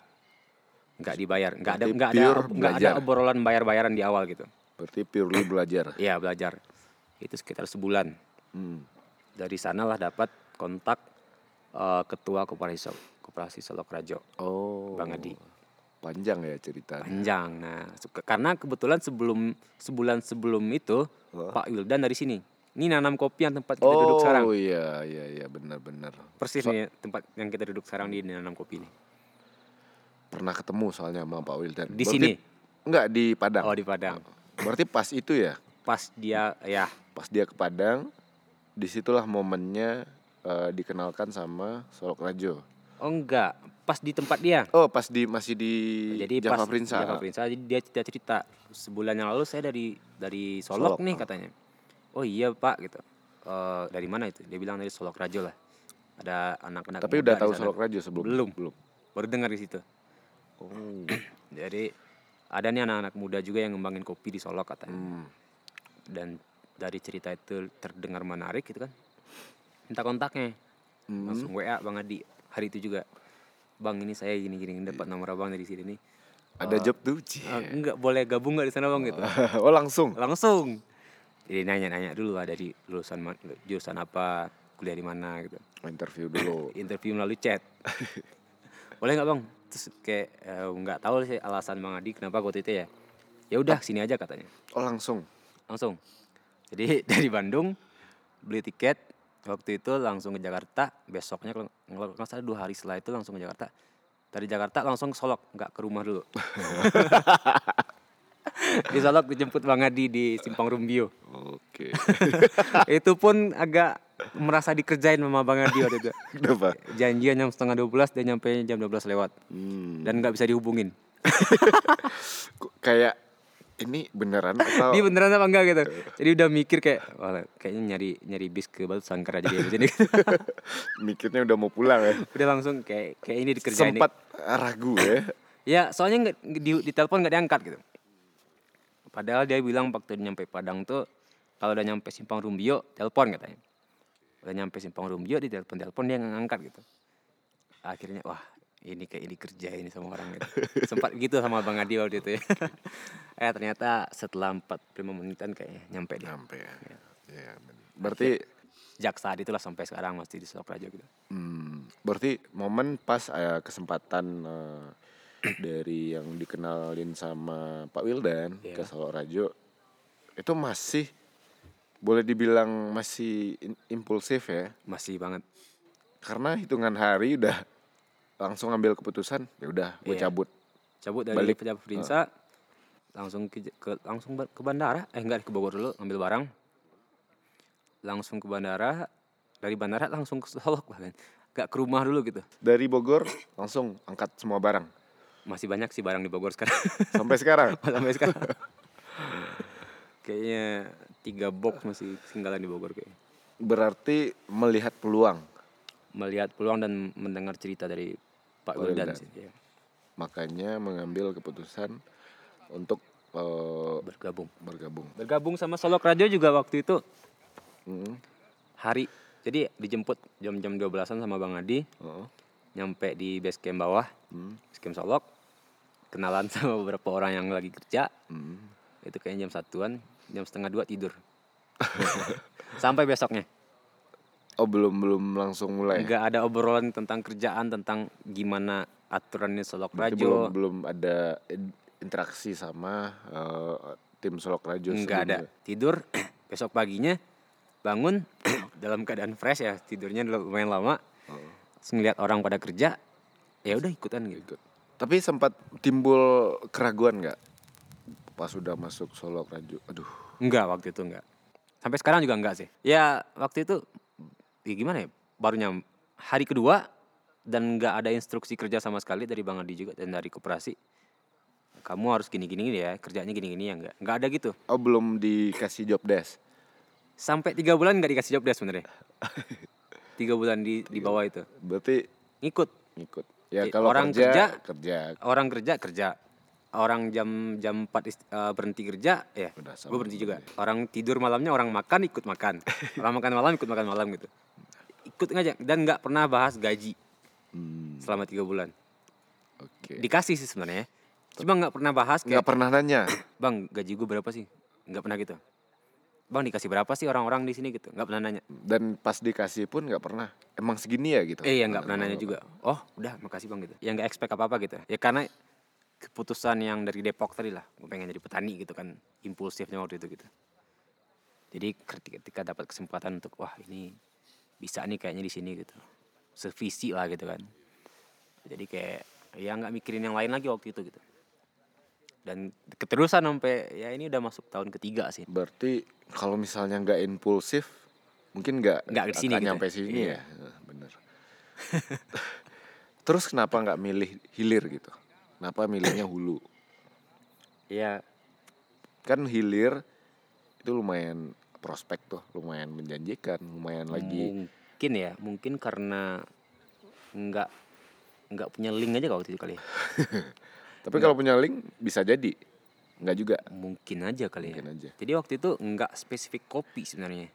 nggak dibayar nggak ada Berarti nggak ada pure nggak ada belajar. obrolan bayar bayaran di awal gitu Berarti purely belajar. Iya belajar itu sekitar sebulan Hmm. dari sanalah dapat kontak eh, ketua koperasi Sol- koperasi Solok Rajo Oh. Bang Adi. Panjang ya cerita. panjang nah se- ke- karena kebetulan sebelum sebulan sebelum itu Oh. Pak Wildan dari sini ini nanam kopi yang tempat kita duduk sekarang Oh iya iya iya benar-benar. persis nih tempat yang kita duduk sekarang di nanam kopi ini Pernah ketemu soalnya sama Pak Wildan. Di Berarti- sini? Enggak di Padang. oh di Padang Berarti pas itu ya, pas dia ya pas dia ke Padang, disitulah momennya eh, dikenalkan sama Solok Rajo. oh enggak pas di tempat dia Oh pas di masih di jadi Java ah. pas Prinsa. Java Prinsa, jadi dia cerita cerita sebulan yang lalu saya dari dari Solok, Solok, nih ah. katanya oh iya pak gitu "Eh, dari mana itu dia bilang dari Solok Rajo lah ada anak-anak Tapi muda udah di tahu sana. Solok Rajo sebelum belum belum. baru dengar di situ Oh. Jadi ada nih anak-anak muda juga yang ngembangin kopi di Solok katanya. Hmm. Dan dari cerita itu terdengar menarik gitu kan. Minta kontaknya. Hmm. Langsung WA Bang Adi hari itu juga. Bang ini saya gini-gini dapat Hmm. nomor Abang dari sini nih. Ada job tuh. Cie. "Eh, enggak boleh gabung nggak di sana Bang Iya. gitu. oh langsung. Langsung. Jadi nanya-nanya dulu ada di lulusan ma- jurusan apa, kuliah di mana gitu. Interview dulu. Interview melalui chat. boleh nggak Bang? Terus kayak eh, nggak tahu sih alasan Bang Adi kenapa waktu itu ya. Ya udah sini aja katanya. Oh langsung. langsung jadi dari Bandung beli tiket waktu itu langsung ke Jakarta besoknya kalau kalau nggak salah dua hari setelah itu langsung ke Jakarta dari Jakarta langsung ke Solok nggak ke rumah dulu di Solok dijemput Bang Adi di Simpang Rumbio Oke. itu pun agak merasa dikerjain sama Bang Adi waktu itu Kenapa? janjian jam setengah 12 dan nyampe jam 12 lewat Hmm. dan nggak bisa dihubungin Kok Kayak ini beneran atau dia beneran apa enggak gitu jadi udah mikir kayak "Wah, kayaknya nyari nyari bis ke Batu Sangkar aja deh abis ini mikirnya udah mau pulang ya? udah langsung kayak kayak ini dikerjain Sempat ragu ya. nih. ya soalnya nggak di, di telepon nggak diangkat gitu padahal dia bilang waktu nyampe Padang tuh kalau udah nyampe Simpang Rumbio telepon katanya udah nyampe Simpang Rumbio di telepon telepon dia nggak ngangkat gitu akhirnya wah ini kayak ini kerja ini sama orang gitu. sempat gitu sama Bang Adi waktu itu ya eh ternyata setelah 45 menitan kayaknya nyampe dia Nyampe ya. Iya, bener. Berarti sejak saat itulah sampai sekarang masih di Solok Raja gitu Hmm, berarti momen pas eh, kesempatan eh, dari yang dikenalin sama Pak Wildan Iya. ke Solo Rajo itu masih boleh dibilang masih in- impulsif ya masih banget karena hitungan hari udah langsung ambil keputusan ya udah gue Iya. cabut cabut dari Balik. Pejabat Prinsa langsung ke, ke- langsung ba- ke bandara eh enggak ke Bogor dulu ambil barang langsung ke bandara dari bandara langsung ke Solok bahkan nggak ke rumah dulu gitu dari Bogor langsung angkat semua barang masih banyak sih barang di Bogor sekarang sampai sekarang sampai sekarang kayaknya tiga box masih ketinggalan di Bogor kayaknya berarti melihat peluang melihat peluang dan mendengar cerita dari Pak Wildan sih ya, makanya mengambil keputusan untuk eh, bergabung bergabung bergabung sama Solok Rajo juga waktu itu Mm, hari jadi dijemput jam-jam 12-an sama Bang Adi oh. nyampe di base camp bawah, Hmm. base camp Solok, kenalan sama beberapa orang yang lagi kerja, Hmm. itu kayaknya jam satuan, jam setengah dua tidur. Sampai besoknya, Oh belum belum langsung mulai. ya? nggak ada obrolan tentang kerjaan, tentang gimana aturannya Solok Berarti Rajo, Belum belum ada in- interaksi sama eh, tim Solok Rajo. nggak ada. sebelumnya. Tidur, besok paginya bangun dalam keadaan fresh ya, tidurnya lumayan lama. Oh. Terus ngeliat orang pada kerja, ya udah ikutan gitu. Ikut. Tapi sempat timbul keraguan nggak pas sudah masuk Solok Rajo? Aduh. Enggak waktu itu enggak. Sampai sekarang juga enggak sih. Ya waktu itu ya gimana ya? Baru nyam hari kedua dan enggak ada instruksi kerja sama sekali dari Bang Adi juga dan dari koperasi. Kamu harus gini-gini ya, kerjanya gini-gini ya enggak. Enggak ada gitu. Oh belum dikasih job desk. Sampai tiga bulan enggak dikasih job desk sebenarnya. tiga bulan di di bawah itu. Berarti Ngikut. ikut. Ya Jadi kalau orang kerja kerja- kerja. Orang kerja kerja. orang jam jam 4 ist- eh, berhenti kerja ya Udah sama gue berhenti juga orang tidur malamnya orang makan ikut makan orang makan malam ikut makan malam gitu ikut ngajak dan nggak pernah bahas gaji Hmm, Iya. selama tiga bulan Oke. dikasih sih sebenarnya cuma nggak pernah bahas kayak Nggak pernah nanya. bang gaji gue berapa sih nggak pernah gitu bang dikasih berapa sih orang-orang di sini gitu nggak pernah nanya Dan pas dikasih pun nggak pernah. Emang segini ya gitu. eh ya nggak pernah nanya juga oh udah makasih bang gitu ya nggak expect apa apa gitu ya karena keputusan yang dari Depok tadi lah gue pengen jadi petani gitu kan impulsifnya waktu itu gitu jadi ketika, ketika dapat kesempatan untuk wah ini bisa nih kayaknya di sini gitu sevisi lah gitu kan jadi kayak ya nggak mikirin yang lain lagi waktu itu gitu dan keterusan sampai ya ini udah masuk tahun ketiga sih Berarti kalau misalnya nggak impulsif, mungkin nggak Nggak ke sini akan gitu. nyampe sini ya. Eh, Bener. Terus kenapa nggak milih hilir gitu? Kenapa milihnya hulu? ya Kan hilir itu lumayan prospek tuh, lumayan menjanjikan, lumayan Hmm. lagi. mungkin ya mungkin karena nggak nggak punya link aja kalau waktu itu kali ya. Tapi kalau punya link bisa jadi. Nggak juga. mungkin aja kali ya Mungkin aja. jadi waktu itu nggak spesifik kopi sebenarnya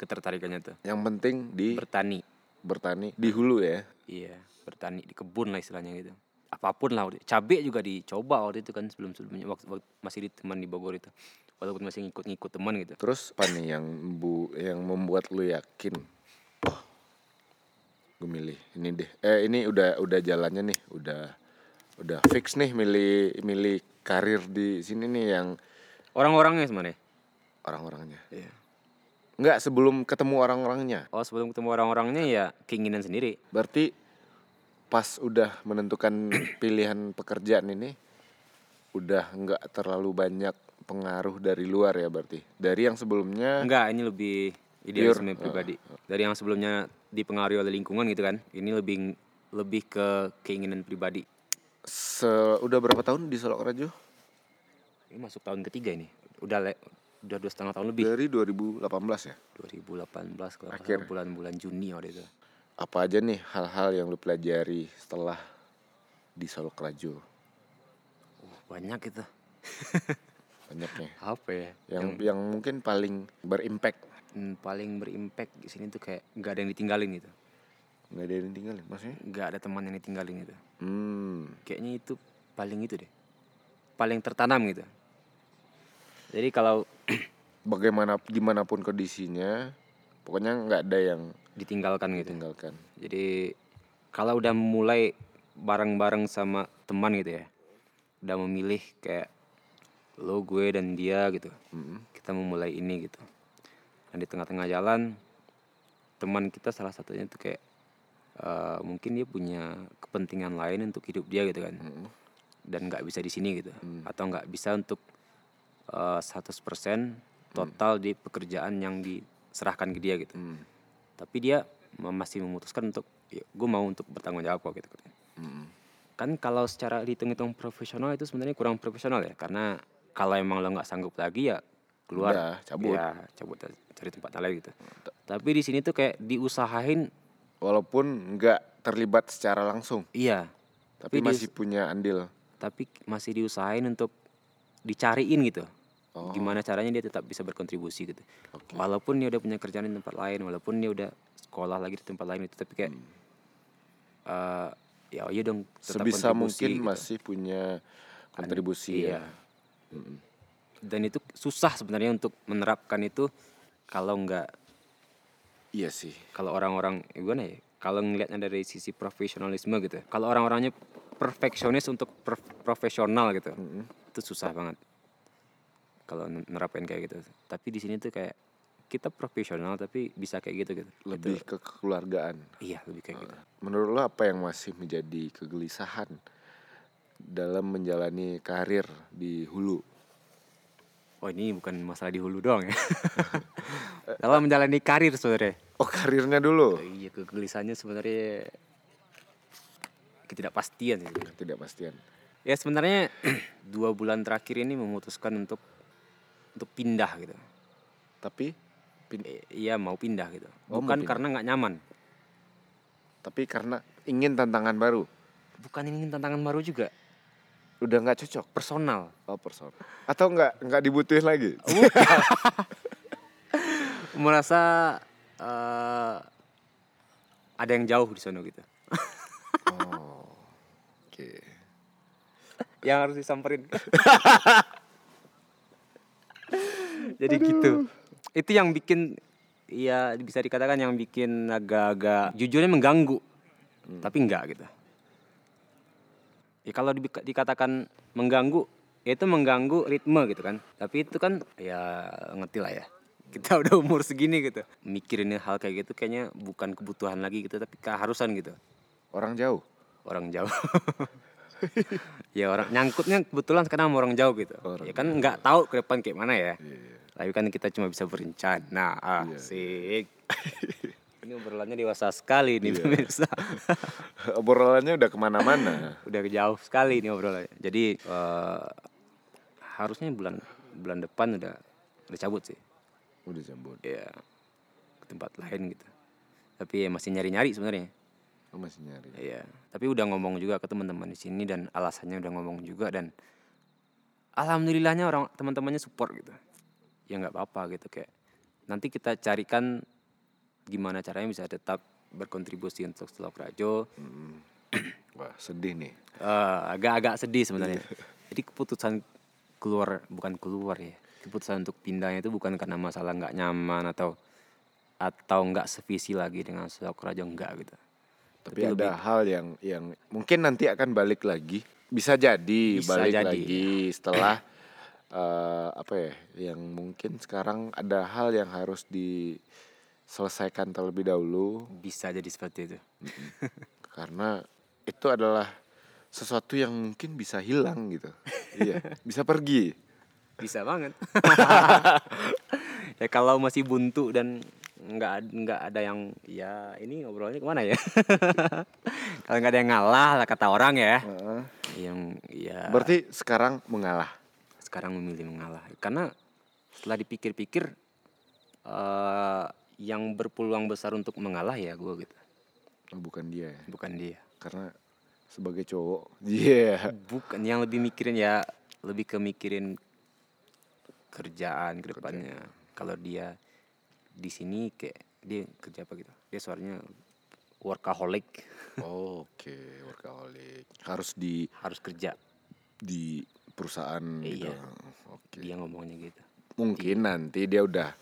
ketertarikannya tuh Yang penting di bertani bertani di hulu ya. iya bertani di kebun lah istilahnya gitu apapun lah waktu- cabe juga dicoba waktu itu kan sebelum sebelumnya waktu, waktu masih di teman di Bogor itu walaupun masih ngikut-ngikut teman gitu Terus apa nih yang bu yang membuat lu yakin? "Wah, gue milih ini deh. Eh ini udah udah jalannya nih, udah udah fix nih milih milih karir di sini nih yang orang-orangnya sebenarnya orang-orangnya. Iya. Enggak sebelum ketemu orang-orangnya. oh sebelum ketemu orang-orangnya ya keinginan sendiri Berarti pas udah menentukan pilihan pekerjaan ini udah nggak terlalu banyak pengaruh dari luar ya berarti. Dari yang sebelumnya Enggak, ini lebih idealisme pribadi. Dari yang sebelumnya dipengaruhi oleh lingkungan gitu kan. Ini lebih lebih ke keinginan pribadi. se- udah berapa tahun di Solok Rajo? Ini masuk tahun ketiga ini. Udah le, udah dua setengah tahun lebih. Dari 2018 ya. 2018 kalau nggak Akhir. salah bulan-bulan Juni waktu itu. Apa aja nih hal-hal yang lu pelajari setelah di Solok Rajo? Uh, banyak gitu. Banyaknya. Apa ya? Yang yang mungkin paling berimpact Hmm, paling berimpact di sini tuh kayak nggak ada yang ditinggalin gitu. nggak ada yang tinggalin maksudnya? Nggak ada teman yang ditinggalin gitu. Hmm. kayaknya itu paling itu deh. Paling tertanam gitu. Jadi kalau Bagaimana gimana pun kondisinya, pokoknya nggak ada yang ditinggalkan gitu. ditinggalkan. Jadi kalau udah mulai bareng-bareng sama teman gitu ya, udah memilih kayak lo gue dan dia gitu, kita memulai ini gitu. Dan di tengah-tengah jalan teman kita salah satunya tuh kayak eh, mungkin dia punya kepentingan lain untuk hidup dia gitu kan, dan nggak bisa di sini gitu, atau nggak bisa untuk eh, 100% total di pekerjaan yang diserahkan ke dia gitu Hmm. tapi dia ma- masih memutuskan untuk gue mau untuk bertanggung jawab kok gitu katanya. Hmm. kan kalau secara dihitung-hitung profesional itu sebenarnya kurang profesional ya karena kalau emang lo nggak sanggup lagi ya keluar Udah, cabut. ya cabut aja, cari tempat lain gitu tapi di sini tuh kayak diusahain Walaupun nggak terlibat secara langsung, iya tapi Tapi dia- masih punya andil. tapi masih diusahain untuk dicariin gitu Oh. gimana caranya dia tetap bisa berkontribusi gitu walaupun dia udah punya kerjaan di tempat lain walaupun dia udah sekolah lagi di tempat lain itu tapi kayak Hmm. eh, ya iya dong tetap Sebisa kontribusi mungkin gitu. masih punya kontribusi ya. iya dan itu susah sebenarnya untuk menerapkan itu kalau nggak Iya sih. kalau orang-orang eh, gimana ya kalau ngelihatnya dari sisi profesionalisme gitu kalau orang-orangnya perfeksionis untuk per- profesional gitu itu susah banget kalau n- nerapin kayak gitu tapi di sini tuh kayak kita profesional tapi bisa kayak gitu gitu Lebih ke kekeluargaan. iya lebih kayak gitu Menurut lo apa yang masih menjadi kegelisahan dalam menjalani karir di hulu? oh ini bukan masalah di hulu doang ya dalam menjalani karir sebenarnya Oh karirnya dulu. iya kegelisahannya sebenarnya ketidakpastian sih Ketidakpastian. Ya sebenarnya dua bulan terakhir ini memutuskan untuk untuk pindah gitu. Tapi pin- I- Iya mau pindah gitu. Oh, mau Bukan pindah. karena nggak nyaman. tapi karena ingin tantangan baru. Bukan ingin tantangan baru juga. udah nggak cocok personal oh person atau nggak nggak dibutuhin lagi merasa eh, ada yang jauh di sana gitu oke yang harus disamperin jadi gitu itu yang bikin ya bisa dikatakan yang bikin agak-agak jujurnya mengganggu tapi enggak gitu ya kalau dibika- dikatakan mengganggu ya itu mengganggu ritme gitu kan tapi itu kan ya ngerti lah ya kita udah umur segini gitu mikirin hal kayak gitu kayaknya bukan kebutuhan lagi gitu tapi keharusan gitu orang jauh orang jauh ya orang nyangkutnya kebetulan sekarang sama orang jauh gitu ya kan nggak tahu ke depan kayak mana ya tapi kan kita cuma bisa berencana asik ini obrolannya dewasa sekali nih pemirsa obrolannya udah kemana-mana udah jauh sekali nih obrolannya jadi eh, harusnya bulan bulan depan udah udah cabut sih udah jambon ya ke tempat lain gitu tapi ya masih nyari nyari sebenarnya Lu masih nyari Iya, tapi udah ngomong juga ke teman-teman di sini dan alasannya udah ngomong juga dan alhamdulillahnya orang teman-temannya support gitu. Ya nggak apa-apa gitu kayak nanti kita carikan gimana caranya bisa tetap berkontribusi untuk Selok Rajo. wah sedih nih Eh, agak-agak sedih sebenarnya. Jadi keputusan keluar bukan keluar ya. Keputusan untuk pindahnya itu bukan karena masalah nggak nyaman atau atau nggak sevisi lagi dengan Selok Rajo nggak gitu. tapi, ada hal yang yang mungkin nanti akan balik lagi bisa jadi ya. Bisa balik jadi. lagi setelah eh, apa ya yang mungkin sekarang ada hal yang harus diselesaikan terlebih dahulu Bisa jadi seperti itu. karena itu adalah sesuatu yang mungkin bisa hilang gitu iya bisa pergi bisa banget ya kalau masih buntu dan nggak ad- nggak ada yang ya ini ngobrolnya kemana ya kalau nggak ada yang ngalah lah kata orang ya yang ya berarti sekarang mengalah sekarang memilih mengalah karena setelah dipikir-pikir eh, yang berpeluang besar untuk mengalah ya gue gitu Oh, bukan dia ya. bukan dia karena sebagai cowok iya bukan yang lebih mikirin ya lebih ke mikirin kerjaan ke depannya kalau dia di sini kayak dia kerja apa gitu dia suaranya workaholic oke workaholic harus di harus kerja di perusahaan gitu. Iya. Oke. dia ngomongnya gitu Mungkin nanti dia udah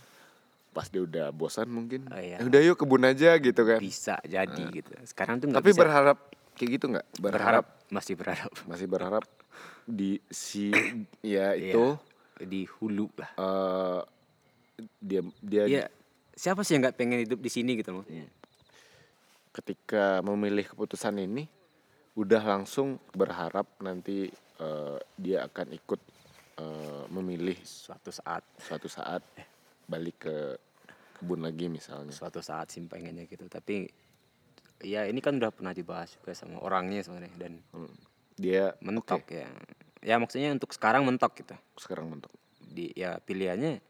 pas dia udah bosan mungkin. Oh, iya. "Eh, Udah yuk kebun aja gitu kan. bisa jadi gitu sekarang tuh nggak Tapi bisa berharap kayak gitu nggak? berharap Berharap, masih berharap masih berharap di si ya itu Iya, di hulu lah eh, dia dia Iya, siapa sih yang nggak pengen hidup di sini gitu Iya. maksudnya ketika memilih keputusan ini udah langsung berharap nanti eh, dia akan ikut eh, memilih suatu saat suatu saat balik ke kebun lagi misalnya. suatu saat sih pengennya gitu tapi ya ini kan udah pernah dibahas juga sama orangnya sebenarnya dan Hmm. Dia mentok ya ya maksudnya untuk sekarang mentok gitu sekarang mentok. di ya pilihannya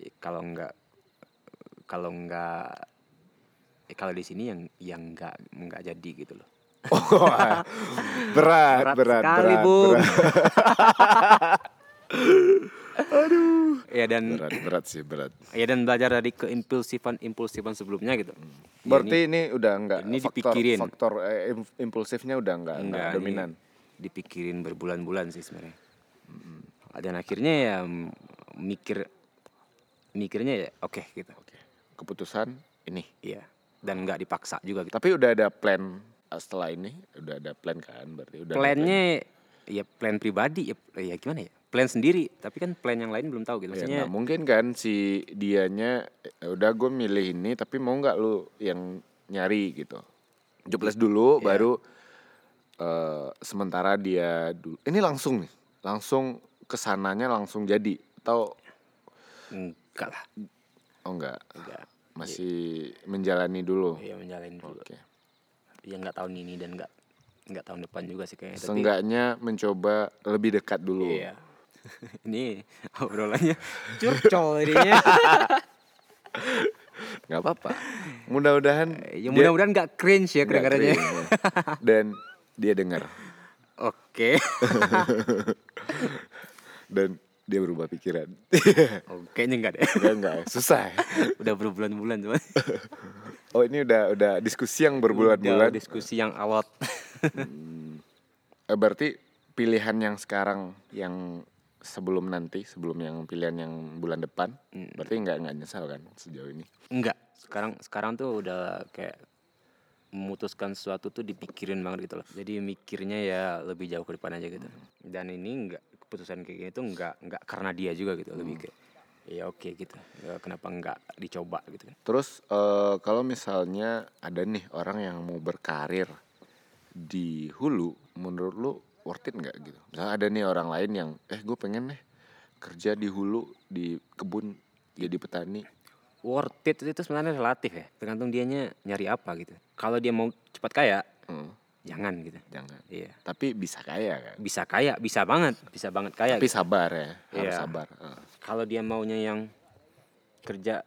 ya kalau nggak kalau nggak ya kalau di sini yang yang nggak nggak jadi gitu loh Wah, berat, berat, berat, sekali berat, Bung. berat, ya dan berat, berat sih berat. ya dan belajar dari keimpulsifan impulsifan sebelumnya gitu Ya, Hmm. Berarti ini, udah enggak ini faktor, dipikirin. faktor eh, im- impulsifnya udah enggak, enggak, Enggak, ini dominan. dipikirin berbulan-bulan sih sebenarnya Hmm. dan akhirnya ya m- mikir mikirnya ya oke gitu Oke. Keputusan ini. iya dan nggak dipaksa juga gitu Tapi udah ada plan eh, setelah ini, udah ada plan kan berarti udah ada plannya ya plan pribadi ya, ya gimana ya plan sendiri tapi kan plan yang lain belum tahu Ya, gitu maksudnya nggak mungkin kan si dianya "Eh, udah gue milih ini tapi mau nggak lu yang nyari gitu. Jobles Iya. dulu baru eh, sementara dia dulu. Ini langsung nih, langsung kesananya langsung jadi atau enggak lah oh enggak enggak masih menjalani dulu. ya menjalin dulu Oke. ya nggak tahun ini dan nggak nggak tahun depan juga sih kayaknya Eh, tapi Seenggaknya mencoba lebih dekat dulu. iya ini obrolannya curcol jadinya nggak apa-apa. Mudah-mudahan dia ya mudah-mudahan nggak cringe ya nggak kedengarannya kering, ya. Dan dia dengar. oke Oke. dan dia berubah pikiran. Oke, kayaknya enggak deh. Enggak enggak susah. ya. Udah berbulan-bulan cuman. Oh ini udah udah diskusi yang Udah berbulan-bulan. Diskusi yang alot. Eh, berarti pilihan yang sekarang yang sebelum nanti sebelum yang pilihan yang bulan depan berarti nggak nggak nyesal kan sejauh ini Enggak. Sekarang sekarang tuh udah kayak memutuskan sesuatu tuh dipikirin banget gitu loh. Jadi mikirnya ya lebih jauh ke depan aja gitu. Dan ini enggak keputusan kayak gini tuh enggak enggak karena dia juga gitu lebih kayak ya oke gitu. Ya, kenapa enggak dicoba gitu kan. terus eh, kalau misalnya ada nih orang yang mau berkarir di hulu menurut lu worth it nggak gitu misalnya ada nih orang lain yang eh gue pengen nih kerja di hulu di kebun jadi petani Worth it itu sebenarnya relatif ya. Tergantung dianya nyari apa gitu. Kalau dia mau cepat kaya, Hmm, jangan gitu. jangan Iya. tapi bisa kaya kan Bisa kaya, bisa banget, bisa banget kaya. tapi sabar ya harus Iya. sabar Eh, Kalau dia maunya yang kerja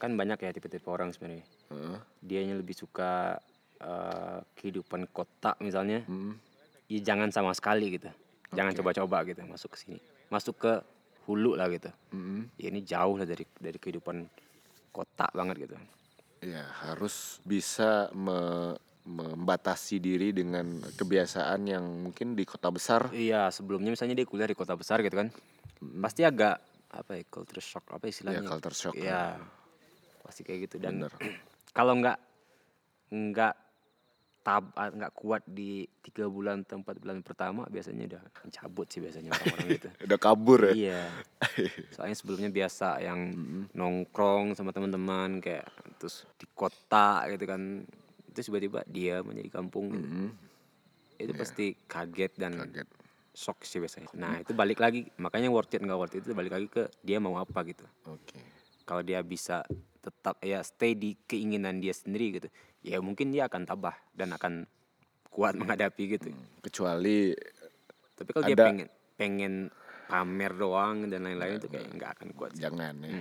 kan banyak ya tipe-tipe orang sebenarnya. eh, dianya lebih suka eh, kehidupan kota misalnya, hmm. ya jangan sama sekali gitu. Jangan coba-coba gitu masuk ke sini. Masuk ke hulu lah gitu. Mm-mm. Ya ini jauh lah dari dari kehidupan kota banget gitu. Ya harus bisa me- membatasi diri dengan kebiasaan yang mungkin di kota besar. Iya, sebelumnya misalnya dia kuliah di kota besar gitu kan. Pasti agak apa ya culture shock Ya apa istilahnya? culture shock. Iya. Pasti kayak gitu dan Bener. kalau nggak nggak tab ah, nggak kuat di tiga bulan atau empat bulan pertama biasanya udah cabut sih biasanya orang-orang gitu. Udah kabur ya. Iya. Soalnya sebelumnya biasa yang nongkrong sama teman-teman kayak terus di kota gitu kan. Terus tiba-tiba dia menjadi kampung. gitu. Mm, Itu pasti kaget dan Iya. kaget. shock sih biasanya. Nah, itu balik lagi makanya worth it nggak worth it itu balik lagi ke dia mau apa gitu. Oke. Kalau dia bisa tetap ya stay di keinginan dia sendiri gitu. Ya mungkin dia akan tabah dan akan kuat Iya. menghadapi gitu. Kecuali Tapi kalau Mm. Ada- dia Iya, pengen pengen pamer doang dan lain-lain itu kayak nggak akan kuat. sih. jangan ya.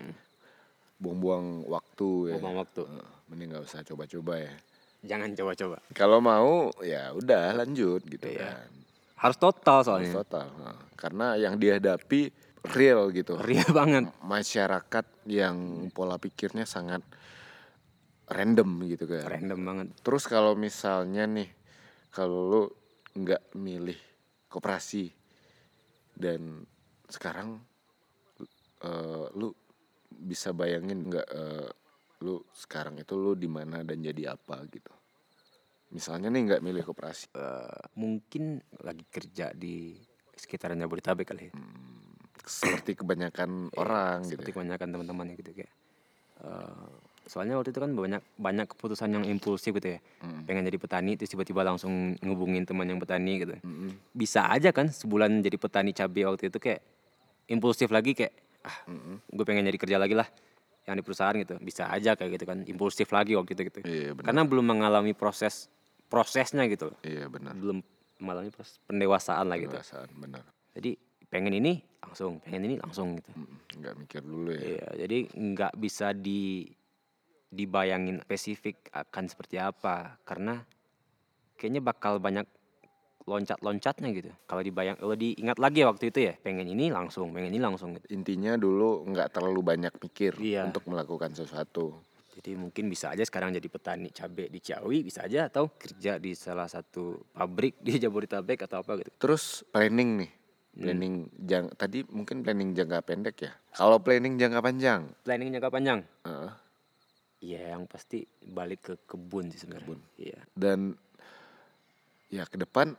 Buang-buang waktu ya. Buang waktu. Eh, Mending nggak usah coba-coba ya. Oh. Jangan coba-coba. Kalau mau ya udah lanjut gitu Iya. kan. Harus total Harus soalnya. Total. Nah, Karena yang dihadapi real gitu. Ria banget. Masyarakat yang pola pikirnya sangat random gitu kan. Random banget. Terus kalau misalnya nih, kalau lu nggak milih koperasi dan sekarang eh, lu bisa bayangin nggak eh, lu sekarang itu lu di mana dan jadi apa gitu. Misalnya nih nggak milih koperasi, Eh, mungkin lagi kerja di sekitaran Jabodetabek kali. ya. seperti kebanyakan orang gitu. Iya, Seperti kebanyakan teman-temannya gitu kayak. eh, soalnya waktu itu kan banyak banyak keputusan yang impulsif gitu ya. Pengen jadi petani terus tiba-tiba langsung ngubungin teman yang petani gitu. Bisa aja kan sebulan jadi petani cabai waktu itu kayak impulsif lagi kayak ah gue pengen jadi kerja lagi lah yang di perusahaan gitu. Bisa aja kayak gitu kan impulsif lagi waktu itu gitu. Iya, benar. Karena belum mengalami proses prosesnya gitu loh. Iya benar. belum mengalami proses pendewasaan lah gitu. Perasaan benar. Jadi pengen ini langsung, pengen ini langsung gitu. Mm, Nggak mikir dulu ya. Iya, jadi nggak bisa di dibayangin spesifik akan seperti apa karena kayaknya bakal banyak loncat-loncatnya gitu. Kalau dibayang kalau diingat lagi ya waktu itu ya, pengen ini langsung, pengen ini langsung gitu. Intinya dulu nggak terlalu banyak mikir Iya. untuk melakukan sesuatu. Jadi mungkin bisa aja sekarang jadi petani cabai di Ciawi bisa aja atau kerja di salah satu pabrik di Jabodetabek atau apa gitu. Terus planning nih, Hmm. planning jang- tadi mungkin planning jangka pendek ya. Kalau planning jangka panjang, Planning jangka panjang. eh, Iya, yang pasti balik ke kebun sih sebenarnya. Iya. dan ya ke depan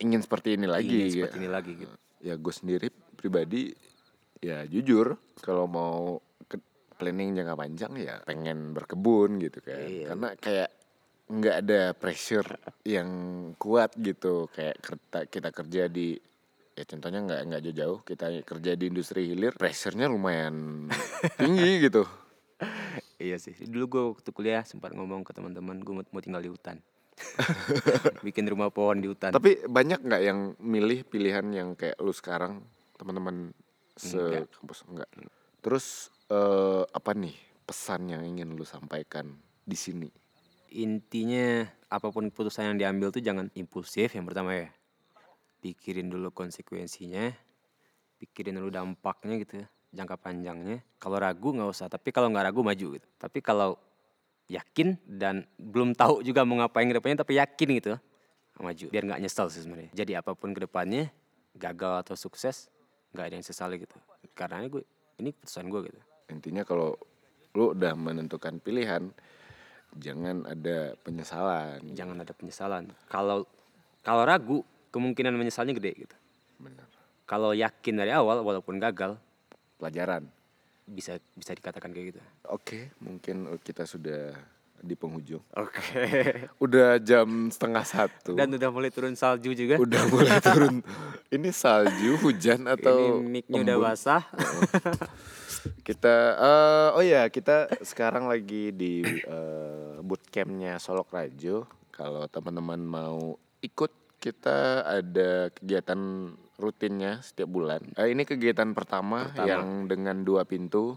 ingin seperti ini lagi. ya. Ingin Iya, seperti ini lagi gitu. Ya gue sendiri pribadi ya jujur kalau mau ke planning jangka panjang ya pengen berkebun gitu kan. Iya. Karena kayak nggak ada pressure yang kuat gitu kayak kerta, kita kerja di ya contohnya nggak nggak jauh-jauh kita kerja di industri hilir pressure-nya lumayan tinggi gitu Iya sih. Dulu gue waktu kuliah sempat ngomong ke teman-teman gue mau, mau tinggal di hutan. Bikin rumah pohon di hutan. tapi banyak nggak yang milih pilihan yang kayak lu sekarang teman-teman se kampus enggak terus eh, apa nih pesan yang ingin lu sampaikan di sini Intinya apapun keputusan yang diambil tuh jangan impulsif yang pertama ya. pikirin dulu konsekuensinya pikirin dulu dampaknya gitu ya, jangka panjangnya kalau ragu nggak usah tapi kalau nggak ragu maju gitu tapi kalau yakin dan belum tahu juga mau ngapain ke depannya tapi yakin gitu maju biar nggak nyesel sih sebenarnya jadi apapun ke depannya gagal atau sukses nggak ada yang sesali gitu karena ini gue ini keputusan gue gitu Intinya kalau lu udah menentukan pilihan, jangan ada penyesalan. jangan ada penyesalan kalau kalau ragu kemungkinan menyesalnya gede gitu Bener. kalau yakin dari awal walaupun gagal Pelajaran. bisa bisa dikatakan kayak gitu Oke, mungkin kita sudah di penghujung. oke Udah jam setengah satu. dan udah mulai turun salju juga udah mulai turun. Ini salju, hujan atau ini micnya udah embun? basah Kita eh, oh ya kita sekarang lagi di eh, bootcampnya Solok Rajo. Kalau teman-teman mau ikut, kita ada kegiatan rutinnya setiap bulan. Eh, ini kegiatan pertama, Pertama. yang dengan dua pintu.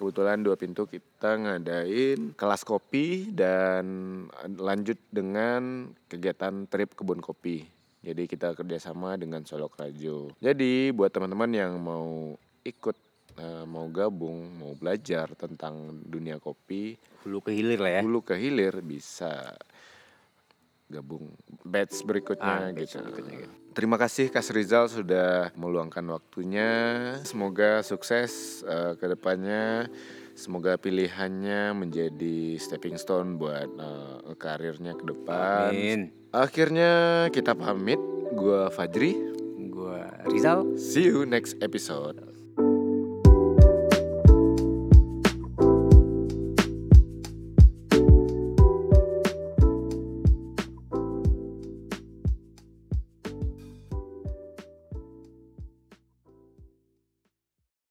Kebetulan dua pintu kita ngadain kelas kopi dan lanjut dengan kegiatan trip kebun kopi. Jadi kita kerjasama dengan Solok Rajo. Jadi buat teman-teman yang mau ikut, eh, mau gabung, mau belajar tentang dunia kopi, hulu ke hilir lah ya hulu ke hilir bisa gabung batch berikutnya Ah, batch gitu. berikutnya, gitu. Terima kasih Kas Rizal sudah meluangkan waktunya. Semoga sukses eh, ke depannya. Semoga pilihannya menjadi stepping stone buat eh, karirnya ke depan. Amin Akhirnya kita pamit. Gua Fajri. gue Rizal See you next episode.